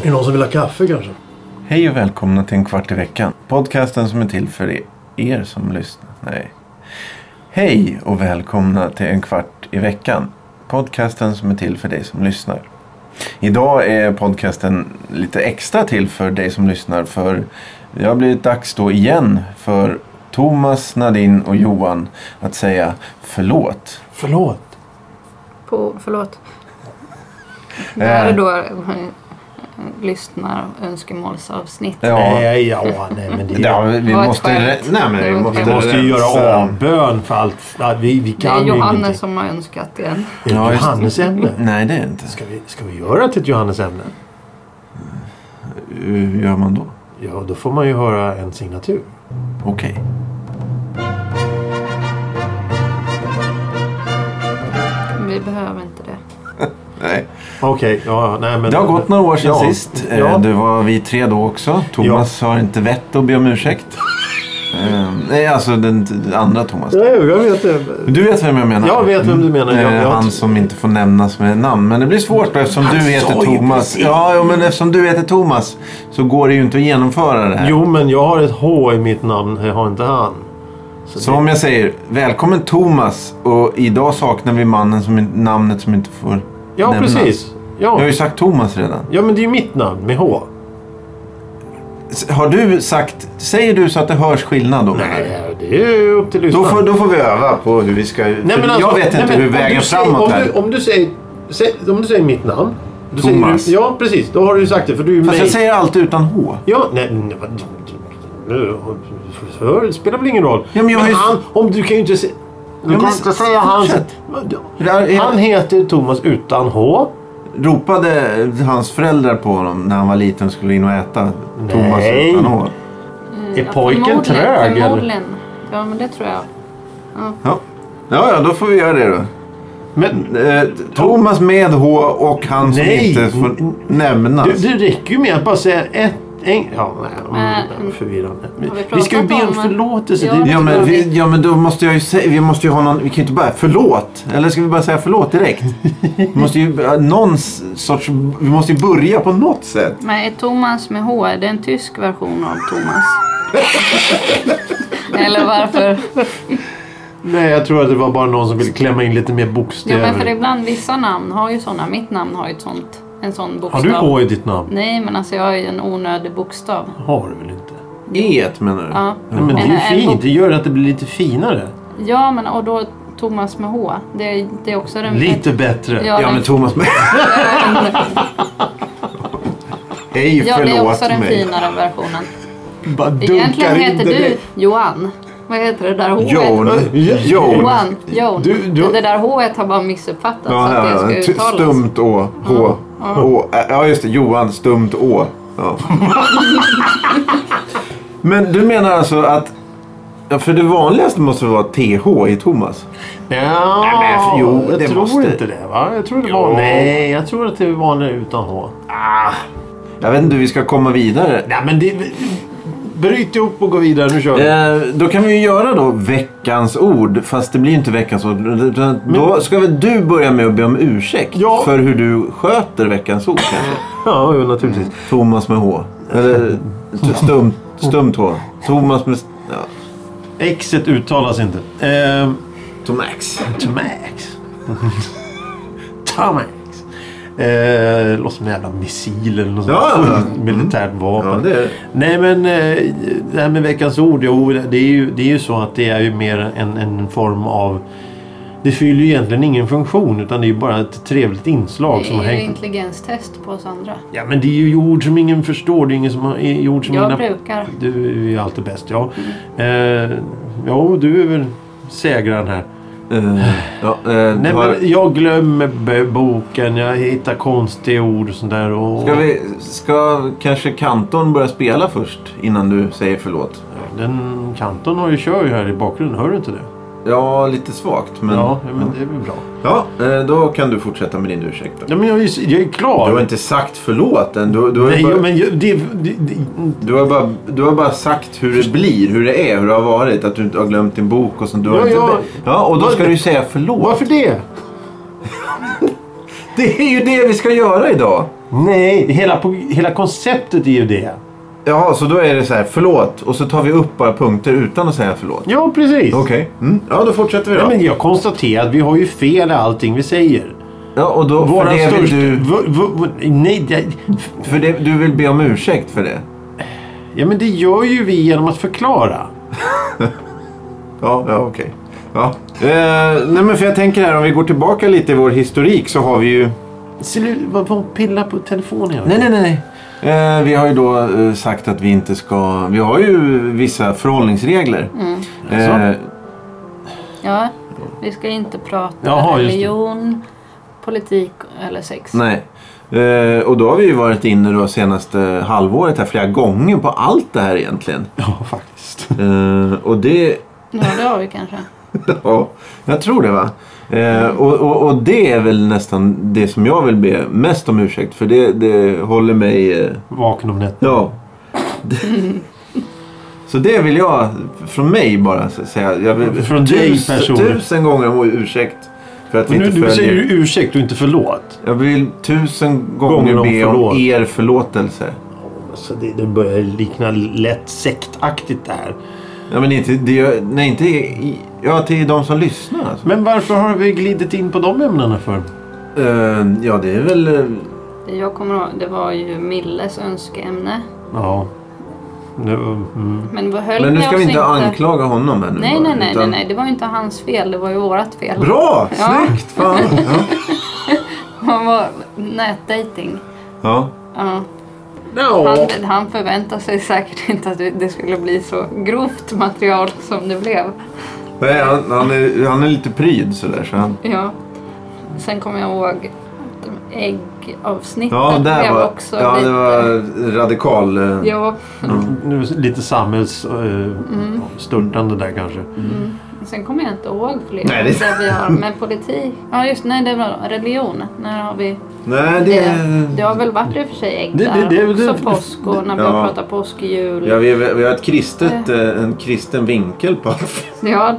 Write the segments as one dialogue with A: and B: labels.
A: Är det någon som vill ha kaffe kanske?
B: Hej och välkomna till en kvart i veckan. Podcasten som är till för er som lyssnar. Nej. Hej och välkomna till en kvart i veckan. Podcasten som är till för dig som lyssnar. Idag är podcasten lite extra till för dig som lyssnar för det har blivit dags då igen för Thomas, Nadine och Johan att säga förlåt.
A: Förlåt.
C: På, förlåt. Det här är då eh, lyssnar önskemålsavsnitt.
B: Ja,
A: Nej, ja, nej men det...
B: ja vi
C: Vad
B: måste...
C: skönt.
B: re- Nej, men vi
C: Vi
B: måste,
A: Vi måste ju göra
B: rensa.
A: avbön för allt. Nej, Vi, vi
C: Det är
A: kan ju
C: Johannes
A: ingenting.
C: som har önskat igen.
A: Är det
B: Ja,
A: ett
B: just-
A: Johannesämne?
B: Nej, det är det inte.
A: Ska vi, ska vi göra till ett Johannesämne?
B: Hur gör man då?
A: Ja, då får man ju höra en signatur.
B: Okej.
C: Vi behöver inte det.
B: Nej.
A: Okej, ja, nej men...
B: Det har gått några år sedan
A: Ja,
B: sist. Eh,
A: Ja,
B: Det var vi tre då också. Thomas har inte vett att be om ursäkt. Eh, Nej, alltså den t- andra Thomas.
A: ja, jag vet det.
B: Du vet vem jag menar?
A: Jag vet vem du menar.
B: Eh,
A: Jag- jag-
B: Han som inte får nämnas med namn. Men det blir svårt då, eftersom
A: Han
B: du
A: sa
B: heter
A: ju
B: Thomas.
A: precis.
B: Ja, jo, men eftersom du heter Thomas så går det ju inte att genomföra det här.
A: Jo, men jag har ett H i mitt namn. Jag har inte han. Så
B: Så om jag säger välkommen Thomas och idag saknar vi mannen som in- namnet som inte får
A: Ja,
B: nämnas.
A: precis.
B: Jag har
A: Ja.
B: ju sagt Thomas redan.
A: ja, men det är ju mitt namn med H.
B: S- Har du sagt, säger du så att det hörs skillnad då?
A: Nej, det är ju upp till
B: Då
A: lyssnaren.
B: får, då får vi öva på hur vi ska... för jag vet
A: nej,
B: inte
A: men
B: hur
A: om
B: vägen
A: du säger,
B: framåt
A: om
B: är.
A: Du, om, du säger, sä, om du säger mitt namn. Då
B: Thomas.
A: Säger du, ja, precis. Då har du ju sagt det. För du är ju
B: Fast
A: mig.
B: jag säger allt utan H.
A: Ja, nej, nej, vad- nu- hör, det spelar väl ingen roll.
B: Ja, men jag har ju-
A: han, om du kan ju inte säga... Du
B: men
A: kan inte säga hans...
B: fortsätt. Där är-
A: Han heter Thomas utan H.
B: Ropade hans föräldrar på honom när han var liten och skulle in och äta? Thomas
A: Nej.
B: utan H.
A: Är pojken
C: Mm, Förmodligen-
A: trög? eller?
C: Förmodligen. Ja, men det tror jag.
B: Ja. ja, ja, då får vi göra det då.
A: Men
B: Eh, Thomas med H och han som
A: Nej. Mm,
B: inte får nämnas.
A: du, det räcker ju med att bara säga ett... En, ja, nej, mm,
C: Äh,
A: förvirrande.
C: vi
A: Vi ska ju
C: pratat
A: be om
C: om-
A: förlåtelse.
C: Ja.
A: Det är-
B: Ja men, vi, ja men då måste jag ju säga, vi måste ju ha någon, vi kan ju inte bara förlåt. Eller ska vi bara säga förlåt direkt? Vi måste ju, eh, någon s- sorts, vi måste ju börja på något sätt.
C: Men är Thomas med H, är det en tysk version av Thomas? Eller varför?
A: Nej, jag tror att det var bara någon som ville klämma in lite mer
C: Jo,
A: bokstäver.
C: men för ibland vissa namn har ju sådana. Mitt namn har ju ett sånt, en sån
A: Har
C: bokstav.
A: du H i ditt namn?
C: Nej, men alltså jag har ju en onödig bokstav.
A: Har du väl inte?
B: E menar du?
C: Ja.
A: Nej, men det är
C: Men
A: ju
C: Mm. en
A: fint.
C: bok- Mm.
A: Det gör att det blir lite finare.
C: Ja, men och då Thomas med H. Det, det är också den...
A: Lite bättre.
C: Ja,
B: Ja men Thomas med. Hej
C: ja, det är
B: förlåt
C: också den
B: mig.
C: finare versionen.
B: Bara
C: Egentligen
B: dunkar in
C: heter
B: det
C: du
B: direkt.
C: Johan. Vad heter det där H?
B: Jon. Jon.
C: Johan. Jon.
A: Du- du-
C: Det där H har bara missuppfattats.
B: Ja,
C: att
B: ja,
C: det
B: ja.
C: ska
B: Ty-
C: uttalas.
B: Stumt Å. H. Å. Ä- Ja just det, Johan. Stumt Å. Ja. men du menar alltså att Ja, för det vanligaste måste vara TH i Thomas.
A: Ja,
B: Nej, men jo,
A: jag
B: det
A: tror
B: måste-
A: inte det. Va? Jag tror det
B: Jo.
A: var... Nej, jag tror att det var vanligare utan H.
B: Jag vet inte hur vi ska komma vidare.
A: Nej, men det... Bryt ihop och gå vidare. Nu kör vi.
B: Eh, då kan vi ju göra då veckans ord, fast det blir ju inte veckans ord. Utan Då ska väl du börja med att be om ursäkt
A: Ja.
B: för hur du sköter veckans ord kanske.
A: Ja, jo, naturligtvis.
B: Thomas med H. Eller st- stumt, stumt H. Thomas med... st- Ja.
A: Exet uttalas inte. Ehm,
B: Tomax.
A: Tomax. Tomax. Eh, låter som en jävla missil eller något
B: Ja,
A: sånt.
B: ja, Mm.
A: Militärt vapen.
B: Ja, det är det.
A: Nej men eh, det här med veckans ord. Jo, det, är ju, det är ju så att det är ju mer en, en form av... Det fyller ju egentligen ingen funktion utan det är ju bara ett trevligt inslag som har
C: Det är ju
A: hängt...
C: intelligenstest på oss andra.
A: Ja men det är ju ord som ingen förstår. Det är ingen som har... är Ord som
C: Jag
A: mina...
C: brukar. Mm.
A: Du är ju alltid bäst. Ja. Eh, jo, du är väl segraren här.
B: Eh, ja, eh,
A: Nej,
B: har-
A: men jag glömmer b- boken, jag hittar konstiga ord och sånt där. Och...
B: Ska, vi, ska kanske kantorn börja spela först innan du säger förlåt?
A: Den kanton har ju kör ju här i bakgrunden, hör du inte det?
B: Ja, lite svagt. Men...
A: ja, men det är väl bra.
B: Ja, eh, då kan du fortsätta med din ursäkt. Då.
A: Ja, men jag, är ju- jag är klar.
B: Du har inte sagt förlåt än. Du, du, har,
A: Nej,
B: bara,
A: men jag, det, det, det,
B: du, har, bara, du har bara sagt hur det blir, hur det är, hur det har varit. Att du inte har glömt din bok och sånt. Du har
A: Ja,
B: inte...
A: ja.
B: ja, och då ska du ju säga förlåt.
A: Varför det?
B: Det är ju det vi ska göra idag.
A: Nej, hela, på- hela konceptet är ju det.
B: Jaha, så då är det så här, förlåt. Och så tar vi upp bara punkter utan att säga förlåt.
A: Ja, precis.
B: Okej. Mm. Ja, då fortsätter vi då.
A: Nej, men jag konstaterar att vi har ju fel i allting vi säger.
B: Ja, och då... För
A: Våran
B: det, vill
A: största...
B: du,
A: v- v- v- nej, det...
B: för det du vill be om ursäkt för det?
A: Ja, men det gör ju vi genom att förklara.
B: Ja, ja okej. Ja. Eh, nej men för jag tänker här, om vi går tillbaka lite i vår historik så har vi ju...
A: Ser du vad hon pillar på telefonen?
B: Nej, nej, nej. nej. Eh, vi har ju då eh, sagt att vi inte ska... Vi har ju vissa förhållningsregler. Eh,
C: Ja, vi ska inte prata
A: Jaha, just det.
C: religion, politik eller sex.
B: nej. Eh, och då har vi ju varit inne då senaste halvåret här flera gånger på allt det här egentligen.
A: Ja, faktiskt.
B: Eh, och det...
C: Ja, det har vi kanske.
B: Ja, jag tror det va. Eh, och, och, och det är väl nästan det som jag vill be mest om ursäkt för det, det håller mig... Eh,
A: Vaken om nätterna.
B: Ja. Det- Så det vill jag från mig bara s- säga. Jag vill,
A: Från dig personligen.
B: Tusen gånger om ursäkt för att vi
A: Nu,
B: inte
A: nu säger
B: följer.
A: du ursäkt och inte förlåt.
B: Jag vill tusen gånger
A: Gånger om
B: be om
A: förlåt.
B: er förlåtelse.
A: Alltså, det, det börjar likna lätt sektaktigt det här.
B: Ja, men inte, det, gör- nej, inte i- ja, till de som lyssnar. Alltså.
A: Men varför har vi glidit in på de ämnena för?
B: Eh, ja, det är väl... eh,
C: Det jag kommer ihåg, det var ju Milles önskeämne.
A: Ja. Nu, mm.
C: Men vad höll
B: Men nu
C: ni
B: ska vi
C: oss
B: inte, anklaga honom här nu.
C: Nej,
B: bara,
C: nej, nej, nej,
B: utan-
C: nej. Det var ju inte hans fel. Det var ju vårat fel.
B: Bra!
C: Ja.
B: Snyggt! Fan. Ja.
C: Han var nätdating.
B: Ja.
C: Ja. Han, han förväntade sig säkert inte att det skulle bli så grovt material som det blev.
B: Nej, han, han, är, han är lite pryd sådär. Så han,
C: Ja. Sen kommer jag ihåg att de äggavsnittet
B: Ja, där
C: blev
B: var,
C: också
B: ja,
C: lite...
B: det var radikal. eh,
C: Ja,
A: Mm. Nu, lite samhällsstörtande där kanske.
C: sen kommer jag inte ihåg fler.
B: Nej, det-
C: Där vi har, men politik. Ja, just nej, det var religion. När har vi
B: Nej, det...
C: det? Det har väl varit i och för sig ägg
A: Det- det-
C: där
A: det- det-
C: också. påsk och när vi
B: Ja.
C: pratar påsk, jul.
B: Ja, vi, vi har ett kristet, eh, en kristen vinkel på allt.
C: Ja,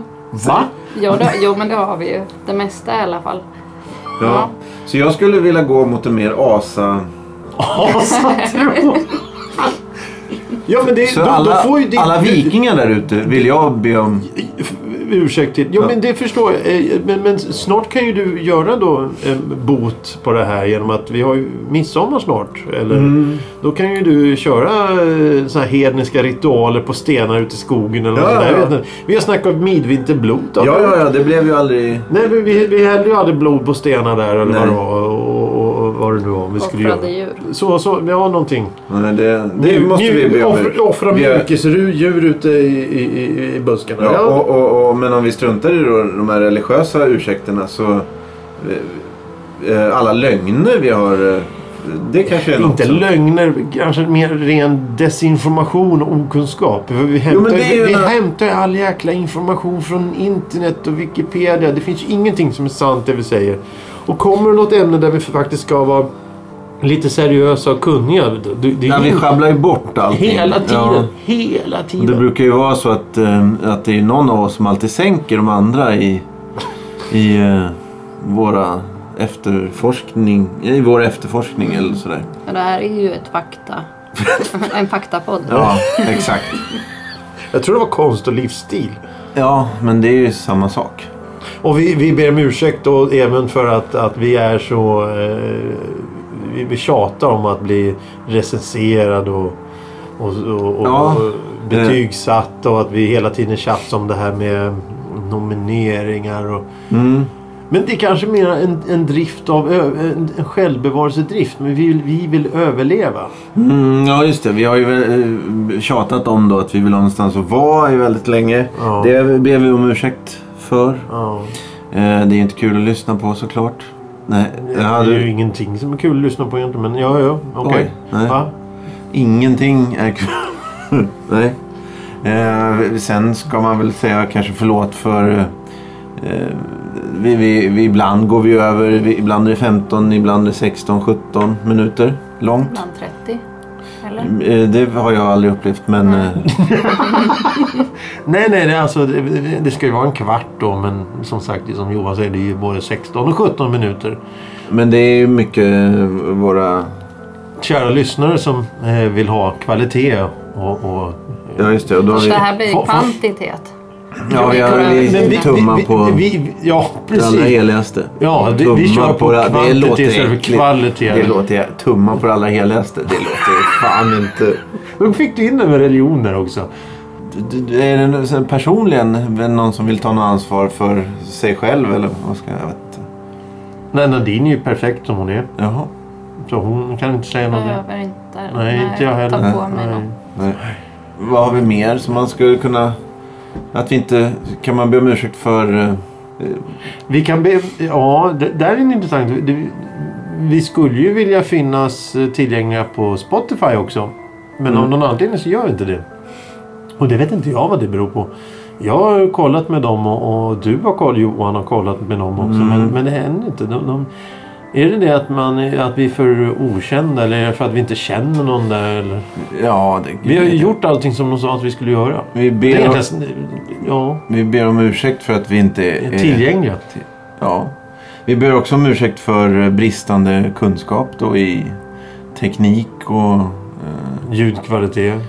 A: Va?
C: ja, det, jo, men det har vi ju. Det mesta i alla fall.
B: Ja.
C: Ja.
B: Så jag skulle vilja gå mot en mer asa...
A: Asatro! ja men det,
B: Så
A: då,
B: alla,
A: då får ju det,
B: alla vikingar där ute vill jag be om...
A: Ursäkt till. Jo
B: Ja.
A: men det förstår jag. Eh, Men, men snart kan ju du göra då en bot på det här genom att vi har ju midsommar snart. Eller?
B: Mm.
A: Då kan ju du köra eh, så här hedniska ritualer på stenar ute i skogen eller
B: Ja,
A: något sånt där.
B: ja,
A: Jag
B: ja.
A: vet inte. Vi har snackat om midvinterblod.
B: Ja, ja, ja, det blev ju aldrig...
A: Nej, vi, vi, vi hällde ju aldrig blod på stenar där eller vad
B: Nej.
A: det var. Och, och, och vad det nu var vi skulle
C: Offrade
A: göra.
C: djur.
A: Så, så, ja någonting.
B: Nej, det, det
A: Mjuk-
B: måste vi be om.
A: offra- Offra
B: Vi-
A: mjukisdjur ute i, i, i, i buskarna.
B: Ja,
A: Ja.
B: och, och, och, men om vi struntar i då, de här religiösa ursäkterna så... eh, eh, Alla lögner vi har... eh, Det kanske är något
A: Inte
B: som-
A: lögner, kanske mer ren desinformation och okunskap. För vi
B: Jo, men
A: hämtar,
B: det är ju
A: vi, vi
B: en-
A: hämtar ju all jäkla information från internet och Wikipedia. Det finns ju ingenting som är sant det vi säger. Och kommer det något ämne där vi faktiskt ska vara lite seriösa och kunniga. Det, det, det
B: Ja,
A: är
B: vi
A: ju
B: sjabblar ju bort allting.
A: hela
B: Ja.
A: tiden. Hela
B: Det
A: tiden.
B: brukar ju vara så att, eh, att det är någon av oss som alltid sänker de andra i, i eh, våra efterforskning, i vår efterforskning eller sådär.
C: Men det här är ju ett fakta. en faktapodd.
B: Ja, exakt.
A: Jag tror det var konst och livsstil.
B: Ja, men det är ju samma sak.
A: Och vi, vi ber om ursäkt då, även för att, att vi är så... Eh, vi, vi tjatar om att bli recenserad och, och, och, och,
B: Ja,
A: och betygsatt och att vi hela tiden tjafsar om det här med nomineringar och...
B: Mm.
A: Men det är kanske mer en, en drift av... ö- En, en självbevarelsedrift. Men vi vill, vi vill överleva.
B: Mm, ja, just det. Vi har ju eh, tjatat om då att vi vill ha någonstans att vara i väldigt länge.
A: Ja.
B: Det ber vi om ursäkt för.
A: Ja.
B: Eh, det är inte kul att lyssna på såklart. Nej,
A: Det
B: ja,
A: är ju
B: du,
A: ingenting som är kul att lyssna på egentligen. Men ja, ja. Okej.
B: Oj, nej.
A: Va?
B: Ingenting är kul. Nej. Eh, sen ska man väl säga kanske förlåt för eh, Eh, vi, vi, vi, ibland går vi över, vi, ibland är det 15, ibland är det 16, 17 minuter långt.
C: Ibland 30.
A: Mm.
C: Eller?
B: Eh, Det har jag aldrig upplevt men... eh,
A: Nej, nej, det, är alltså, det, det ska ju vara en kvart då men som sagt, som Johan säger, det är ju både 16 och 17 minuter.
B: Men det är ju mycket våra...
A: Kära lyssnare som eh, vill ha kvalitet och... och
B: Ja just det. Och då har
C: Så
B: vi,
C: det här blir
A: Få- få-
C: kvantitet.
B: ja, vi, har,
C: Men
B: vi
C: vi-
B: tummar på
A: vi, vi, ja,
B: det allra
A: precis.
B: heligaste.
A: Ja, vi,
B: Tummar
A: vi kör på
B: det- det låter
A: kvantitet istället för
B: äckligt.
A: kvalitet.
B: Det låter... Tumma på det allra heligaste. Det låter fan inte...
A: Då fick du in det med religioner också.
B: D- d- Är det nu- sen personligen väl någon som vill ta något ansvar för sig själv eller vad ska jag... jag vet inte.
A: Nej, Nadine är ju perfekt som hon är.
B: Jaha.
A: Så hon kan inte säga
C: Jag
A: någonting.
C: behöver inte, eh,
A: Nej, inte jag heller.
C: ta på mig
A: Nej.
C: något.
B: Nej. Vad har vi mer som man skulle kunna... Att vi inte... Kan man be om ursäkt för... eh,
A: Vi kan be... Ja, det där är en intressant... Det, vi skulle ju vilja finnas eh, tillgängliga på Spotify också. Men av
B: Mm.
A: någon anledning så gör vi inte det. Och det vet inte jag vad det beror på. Jag har kollat med dem och, och du har kollat, Johan har kollat med dem också.
B: Mm.
A: Men, men det händer inte. De, de, är det det att, man, är- att vi är för okända eller är det för att vi inte känner någon där? Eller?
B: Ja, det...
A: Vi har ju gjort allting som de sa att vi skulle göra.
B: Mm. Vi
A: Det är
B: ber, om,
A: egentligen- ja,
B: vi ber om ursäkt för att vi inte är...
A: tillgängliga.
B: Ja. Vi ber också om ursäkt för eh, bristande kunskap då i teknik och... eh,
A: Ljudkvalitet.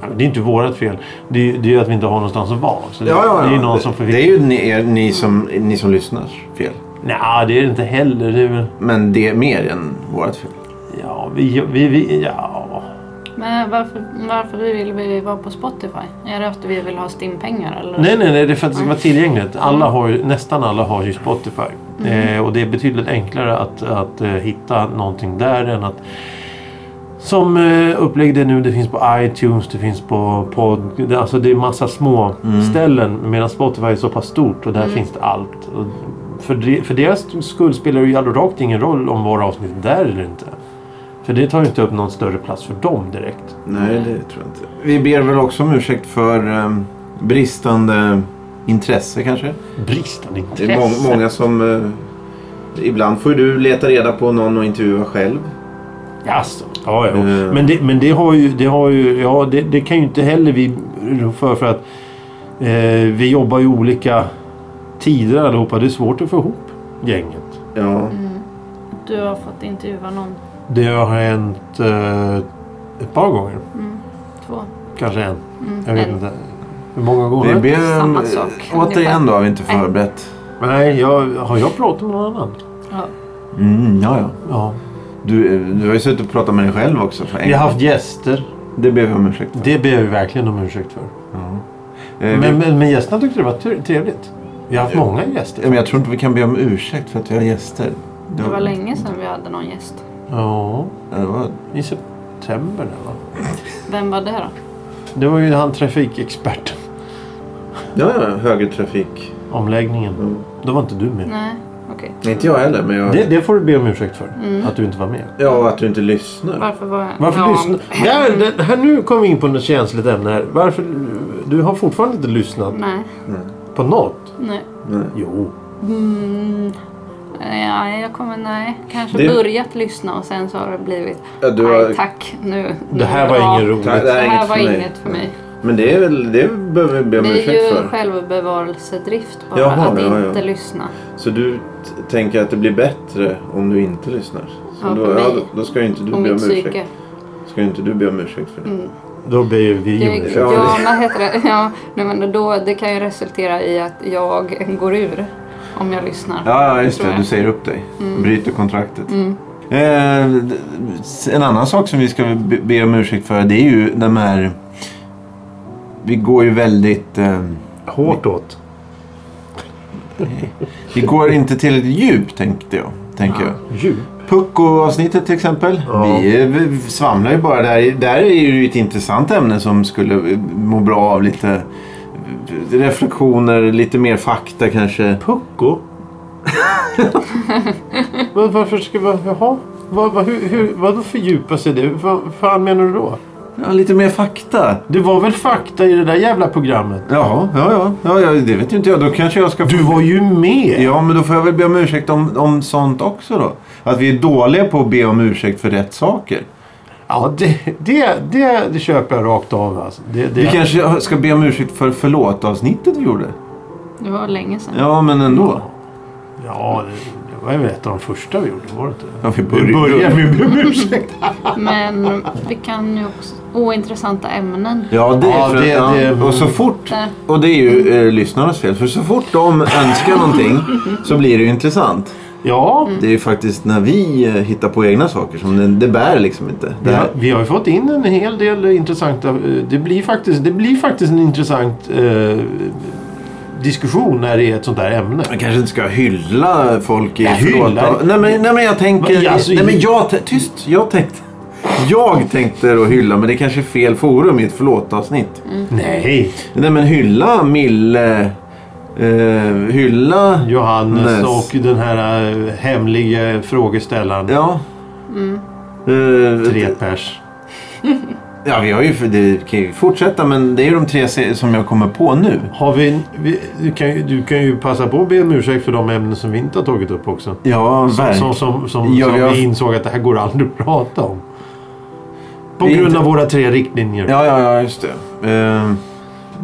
A: Ja, men Det är inte vårt fel. Det är, det är ju att vi inte har någonstans att vara. Så det, det är ju någon som får...
B: det är ju ni, er, ni, som, ni som lyssnar fel.
A: Nej, det är det inte heller. Det är väl...
B: Men det är mer än vårt fel.
A: Ja, vi... vi, vi ja.
C: Men varför, varför vill vi vara på Spotify? Är det efter vi vill ha stimpengar eller?
A: Nej, nej, nej. Det är för att det ska vara tillgängligt. Alla har, ju- nästan alla har ju Spotify. Eh, och det är betydligt enklare att, att eh, hitta någonting där än att... Som eh, upplägg det är nu. Det finns på iTunes, det finns på podd. Det, alltså det är massa små ställen. Medan Spotify är så pass stort och där finns det allt. Och för, de, för deras skull spelar det ju alldeles rakt ingen roll om våra avsnitt är där eller inte. För det tar ju inte upp någon större plats för dem direkt.
B: Nej, det tror jag inte. Vi ber väl också om ursäkt för eh, bristande intresse kanske.
A: Bristande inte.
B: Det är må-
C: Intresse.
B: många som... eh, ibland får ju du leta reda på någon och intervjua själv.
A: Jaså? Ja, ja.
B: Eh.
A: Men, det, men det har ju... Det, har ju ja, det, det kan ju inte heller vi rå för för att eh, vi jobbar ju olika tider allihopa. Det är svårt att få ihop gänget.
B: Ja.
C: Mm. Du har fått intervjua någon.
A: Det har hänt eh, ett par gånger.
C: Mm. Två.
A: Kanske en.
C: Mm.
A: Jag vet
C: en.
A: inte. Hur många
B: Vi
A: gånger?
B: ber om...
C: Samma sak,
B: Återigen
C: ungefär.
B: då har vi inte förberett.
A: Nej, jag, har jag pratat med någon annan?
C: Ja.
B: Mm, ja, ja.
A: Ja.
B: Du, eh, du har ju suttit och pratat med dig själv också. För en
A: Vi har
B: gång.
A: haft gäster.
B: Det ber vi om ursäkt för.
A: Det ber vi verkligen om ursäkt för.
B: Ja. Eh, vi,
A: Men, men, men gästerna tyckte det var tre- trevligt. Vi har haft många
B: Ja, Eh, men
A: gäster.
B: jag tror inte vi kan be om ursäkt för att vi har gäster.
C: Det var länge sedan vi hade någon gäst.
A: Ja,
B: Ja, det var...
A: i september där va?
C: Vem var det då?
A: Det var ju han trafikexperten.
B: Ja, ja, högertrafik.
A: Omläggningen.
B: Mm.
A: Då var inte du med.
C: Nej, okej.
B: Inte jag heller, men jag...
A: Det, det får du be om ursäkt för.
C: Mm.
A: Att du inte var med.
B: Ja, att du inte lyssnar.
C: Varför var jag...
A: Varför
C: ja.
A: lyssna? Där, där, här nu kom vi in på något känsligt ämne här. Varför? Du har fortfarande inte lyssnat
C: Nej,
A: på något.
C: nej.
B: Mm. Nej.
A: Jo.
C: Mm. Ja, jag kommer... Nej. Kanske
B: Det-
C: börjat lyssna och sen så har det blivit...
B: Ja, du
C: nej,
B: har...
C: tack. Nu.
A: Det här
C: nu,
A: var
C: ja.
A: ingen roligt.
B: Tack.
C: Det
B: Det här är
C: här
B: inget
C: var
B: för mig.
C: inget för mig.
B: Men det, är väl, det behöver vi be om
C: Det är
B: ursäkt
C: ju
B: för.
C: självbevarelsedrift bara,
B: Jaha,
C: att
B: ja, ja.
C: inte lyssna.
B: Så du t- tänker att det blir bättre om du inte lyssnar? Så
C: Ja,
B: då,
C: för mig.
B: då, då ska ju inte du
C: Och
B: be om
C: mitt
B: ursäkt.
C: psyke.
B: Ska ju inte du be om ursäkt för det.
C: Mm.
A: Då blir vi
C: Det,
A: om ursäkt.
B: Ja,
C: ja,
B: det-
C: vad heter det? Ja, nej, men då, det kan ju resultera i att jag går ur om jag lyssnar.
B: Ja, ja, just
C: Tror
B: det.
C: jag.
B: Du säger upp dig. Bryter kontraktet.
C: Mm.
B: Eh, d- d- en annan sak som vi ska be- be om ursäkt för det är ju de här... Vi går ju väldigt... Eh,
A: Hårt åt.
B: vi går inte tillräckligt djupt tänkte jag. Tänker
C: Ja.
B: jag.
A: Djup.
B: Pucko-avsnittet till exempel.
A: Ja.
B: Vi, eh, vi svamlar ju bara där. Där är ju ett intressant ämne som skulle eh, må bra av lite eh, reflektioner, lite mer fakta kanske.
A: Pucko? Men varför ska vi... Jaha? Vad, vad, hur, hur, vad fördjupa sig det? Vad fan menar du då?
B: Ja, lite mer fakta.
A: Det var väl fakta i det där jävla programmet?
B: Jaha, ja, ja, ja, ja, det vet ju inte jag. Då kanske jag ska... få-
A: Du var ju med!
B: Ja, men då får jag väl be om ursäkt om, om sånt också då. Att vi är dåliga på att be om ursäkt för rätt saker.
A: Ja, det, det, det, det köper jag rakt av. Alltså. Det, det,
B: Vi kanske ska be om ursäkt för förlåt-avsnittet vi gjorde.
C: Det var länge sedan.
B: Ja, men ändå.
A: Ja, det, det var ju ett av de första vi gjorde, var det inte?
B: Ja, vi
A: Vi
B: börjar-
A: börjar med att be om ursäkt.
C: Men vi kan ju också... Ointressanta ämnen.
B: Ja, det är
A: Ja,
B: för
A: det-
B: ja.
A: det-
B: Och så fort...
C: Där.
B: Och det är ju eh, lyssnarnas fel. För så fort de önskar någonting så blir det ju intressant.
A: Ja,
B: Det är ju faktiskt när vi eh, hittar på egna saker som det, det bär liksom inte. Det
A: vi har,
B: här.
A: vi har ju fått in en hel del intressanta... eh, Det blir faktiskt, det blir faktiskt en intressant eh, diskussion när det är ett sånt där ämne.
B: Man kanske inte ska hylla folk i
A: Jag
B: förlåt.
A: hyllar.
B: Nej men, nej men jag tänker...
A: Men, alltså,
B: nej men jag... tä- Tyst! Jag tänkte... Jag tänkte då hylla, men det kanske är fel forum i ett förlåt-avsnitt.
A: Mm. Nej,
B: Nej men hylla Mille... Eh, hylla...
A: Johannes
B: Näs.
A: och den här eh, hemliga frågeställaren.
B: Ja. Eh,
A: Tre pers.
B: Ja, vi har ju, det kan ju fortsätta, men det är ju de tre se- som jag kommer på nu.
A: Har vi, vi, du, kan, ju- du kan ju passa på att be om ursäkt för de ämnen som vi inte har tagit upp också.
B: Ja,
A: Som, som,
B: verkligen.
A: som, som,
B: Ja,
A: som
B: vi har-
A: vi insåg att det här går aldrig att prata om. På
B: Det är
A: grund
B: inte-
A: av våra tre riktlinjer.
B: Ja, ja, ja, just det. Eh,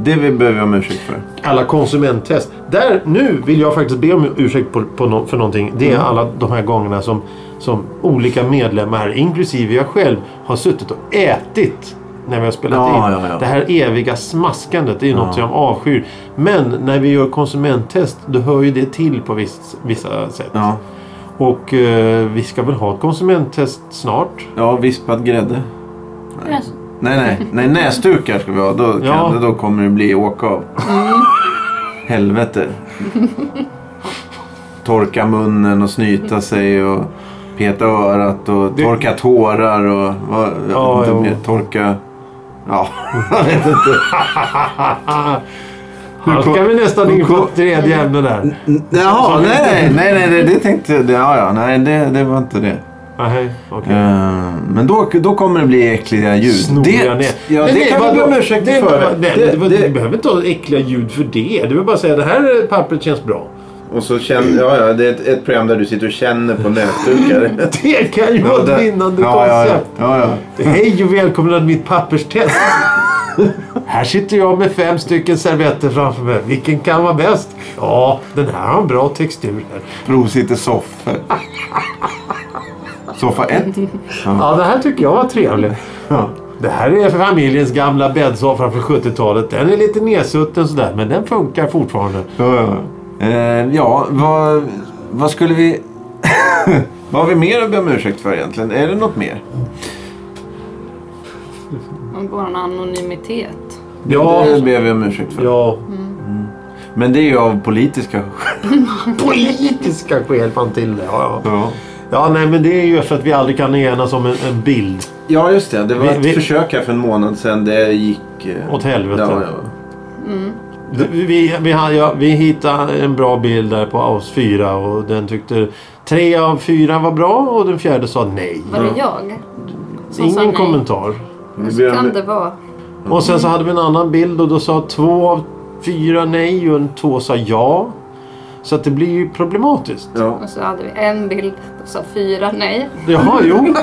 B: det vi behöver vi om ursäkt för.
A: Alla konsumenttest. Där, nu vill jag faktiskt be om ursäkt på, på nå- för någonting. Det är
B: Mm.
A: alla de här gångerna som, som olika medlemmar, inklusive jag själv, har suttit och ätit när vi har spelat
B: Ja,
A: in.
B: ja, ja.
A: Det här eviga smaskandet, det är ju något som jag avskyr. Men när vi gör konsumenttest, då hör ju det till på viss, vissa sätt.
B: Ja,
A: Och eh, vi ska väl ha ett konsumenttest snart.
B: ja vispad grädde.
C: Yes.
B: Nej, nej, nej näsdukar ska vi ha. Då, kan,
A: Ja.
B: då kommer det bli åka av. Helvete. Torka munnen och snyta sig och peta örat och
A: Det-
B: torka tårar och
A: Ja,
B: vad, jag vet inte,
A: jo.
B: mer, torka... Ja, jag vet inte.
A: Här
B: Alltså,
A: ska vi nästan in på tredje ämne där.
B: N-
A: Så-
B: Jaha,
A: så-
B: nej, nej, nej, det, det tänkte jag. det- Ja, ja, nej, det, det var inte det.
A: Nej, Ah, okej.
B: Eh, men då, då kommer det bli äckliga ljud.
A: Snoriga
B: det,
A: ner.
B: ja, det
A: Men
B: kan vi
A: vadå?
B: be om ursäkt
A: Det-
B: för.
A: nej,
B: Det-
A: det var-
B: det-
A: Du behöver inte ha äckliga ljud för det. Du vill bara säga det här pappret känns bra.
B: Och så känner, ja, ja, det är ett, ett program där du sitter och känner på näsdukar.
A: Det kan ju vara ett vinnande
B: ja, ja, ja,
A: koncept.
B: ja, ja.
A: Hej och välkomna till mitt papperstest. här sitter jag med fem stycken servetter framför mig. Vilken kan vara bäst? Ja, den här har en bra textur.
B: Provsitter soffor. Soffa 1.
A: Ja, det här tycker jag var trevligt.
B: Ja.
A: Det här är för familjens gamla bäddsoffa från 70-talet. Den är lite nedsutten sådär, men den funkar fortfarande.
B: Ja, ja. Eh, ja vad, vad skulle vi... vad har vi mer att be om ursäkt för egentligen? Är det något mer?
C: Och vår anonymitet.
A: Ja,
B: Det ber vi om ursäkt för.
A: ja.
B: Men det är ju av politiska skäl.
A: Politiska skäl fan till det. Ja, ja.
B: Ja.
A: ja, nej men det är ju för att vi aldrig kan enas om en, en bild
B: ja, just det. Det var
A: Vi-
B: ett
A: vi-
B: försök här för en månad sedan. Det gick... eh,
A: åt helvete.
B: Ja, ja.
A: Vi, vi, vi, har- ja, vi hittade en bra bild där på oss fyra och den tyckte tre av fyra var bra och den fjärde sa nej.
C: Var det jag? Som sa
A: Ingen
C: nej?
A: kommentar.
B: Vi
C: Så
B: ber
C: kan
B: om,
C: det vara.
A: Och sen så hade vi en annan bild och då sa två av fyra nej och en två sa ja. Så att det blir ju problematiskt.
B: ja.
C: Och så hade vi en bild och sa fyra nej.
A: Jaha, jo.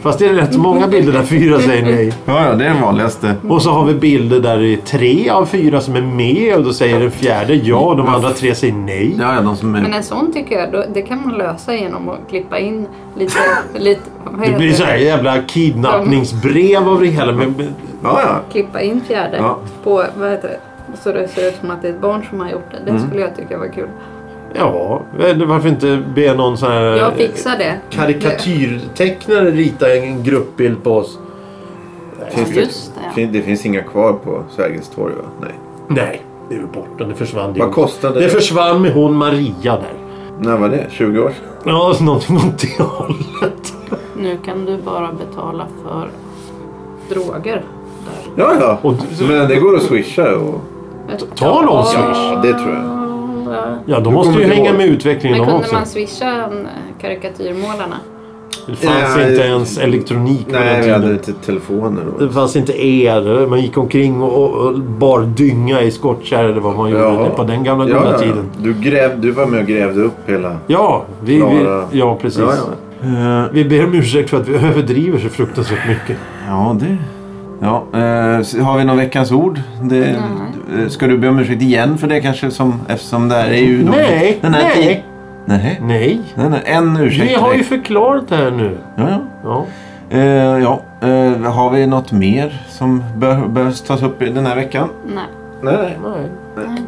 A: Fast det är rätt många bilder där fyra säger nej.
B: ja, ja, det är den vanligaste.
A: Och så har vi bilder där det är tre av fyra som är med och då säger den fjärde ja och de andra tre säger nej.
B: Ja, ja, de som
C: Men
B: är...
C: en sån tycker jag, då, det kan man lösa genom att klippa in lite... lite vad
A: Det
C: heter
A: blir så här jävla kidnappningsbrev av det hela. Men, men-
B: Ja, ja.
C: Klippa in fjäder
B: Ja.
C: på, vad heter det? Och Så det ser ut som att det är ett barn som har gjort det. Det
A: Mm.
C: skulle jag tycka var kul.
A: ja, eller varför inte be någon sån här
C: Jag fixar det.
A: karikatyrtecknare rita en gruppbild på oss?
C: Ja, Just det.
B: Fin- Det finns inga kvar på Sergels torg, va? Nej.
A: Nej, det är ju borta. Det försvann.
B: Vad kostade
A: Det
B: det?
A: försvann med hon Maria där.
B: När var det? 20 år sedan?
A: Ja, alltså, någonting åt det hållet.
C: Nu kan du bara betala för droger.
B: Ja, ja.
A: Och du-
B: Men det går att swisha och...
A: Ta någon swish.
B: Ja, det tror jag.
A: Ja, de
B: Du
A: måste ju
B: kommer inte
A: hänga
B: ihåg.
A: med utvecklingen
C: Men
A: de
C: kunde
A: också.
C: man swisha eh, karikatyrmålarna?
A: Det fanns
B: Ja,
A: inte
B: eh,
A: ens elektronik på
B: Nej,
A: den
B: vi
A: tiden.
B: hade inte telefoner då.
A: Det fanns inte el. Man gick omkring och, och bar dynga i skottkärr eller vad man
B: Jaha.
A: gjorde på den gamla goda tiden.
B: Du, gräv, du var med och grävde upp hela...
A: Ja, vi,
B: Klara.
A: vi, ja precis.
B: Ja, ja.
A: Eh, vi ber om ursäkt för att vi överdriver så fruktansvärt mycket.
B: ja, det... Ja, eh, s- har vi någon veckans ord? Det, eh, ska du be om ursäkt igen för det kanske? Som, eftersom det här är ju...
A: Nej,
B: den här
A: nej.
B: ti- Nej,
A: Nej,
B: nej, nej. En ursäkt.
A: vi har ju
B: direkt.
A: förklarat det här nu.
B: Ja, ja.
A: Ja.
B: Eh, ja. Eh, har vi något mer som bör, behövs tas upp i den här veckan?
C: Nej.
B: Nej, nej.
A: Nej.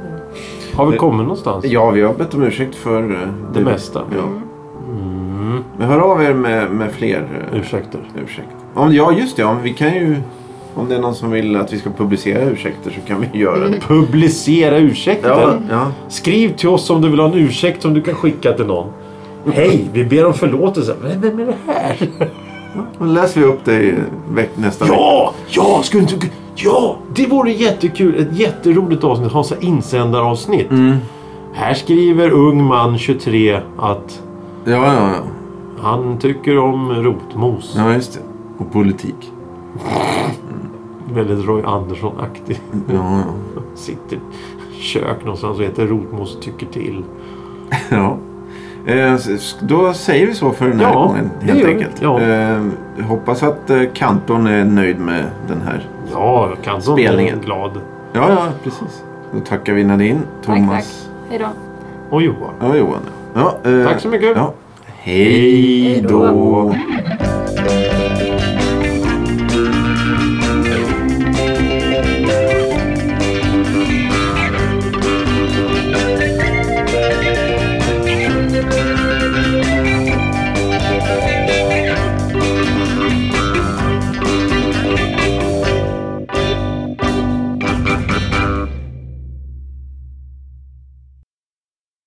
A: Har vi kommit någonstans?
B: Ja, vi har bett om ursäkt för... eh,
A: Det mesta.
B: Ja.
A: Mm,
B: Men hör av er med, med fler eh,
A: ursäkter.
B: ursäkter. Om, ja, just det. Om, vi kan ju, om det är någon som vill att vi ska publicera ursäkter så kan vi göra
A: Mm.
B: det.
A: Publicera ursäkter.
B: Ja, ja.
A: Skriv till oss om du vill ha en ursäkt som du kan skicka till någon. Hej, vi ber om förlåtelse. Men Vem är det här?
B: Då läser vi upp det i veck, nästa vecka.
A: Ja, ja, skulle inte... Ja, det vore jättekul. Ett jätteroligt avsnitt. Ha en sån här insändaravsnitt. Här skriver ung man 23 att
B: Ja, ja, ja.
A: han tycker om rotmos.
B: Ja, just det. Och politik.
A: Väldigt Roy Andersson-aktig.
B: Ja, ja.
A: Sitter i kök någonstans och äter rotmos och tycker till.
B: ja. Eh, s- s- Då säger vi så för den här
A: Ja,
B: gången
A: det
B: helt
A: gör vi.
B: enkelt.
A: Ja.
B: Eh, hoppas att eh, kantorn är nöjd med den här.
A: Ja, kan som
B: Spelningen.
A: är glad.
B: Ja, ja, precis. Då tackar vi Nadine,
C: Tack,
B: Thomas
C: tack. Hej då.
A: Och Johan.
B: Ja, Johan. Ja, eh,
A: Tack så mycket.
B: Ja. Hej
A: Hej
B: då.
A: då.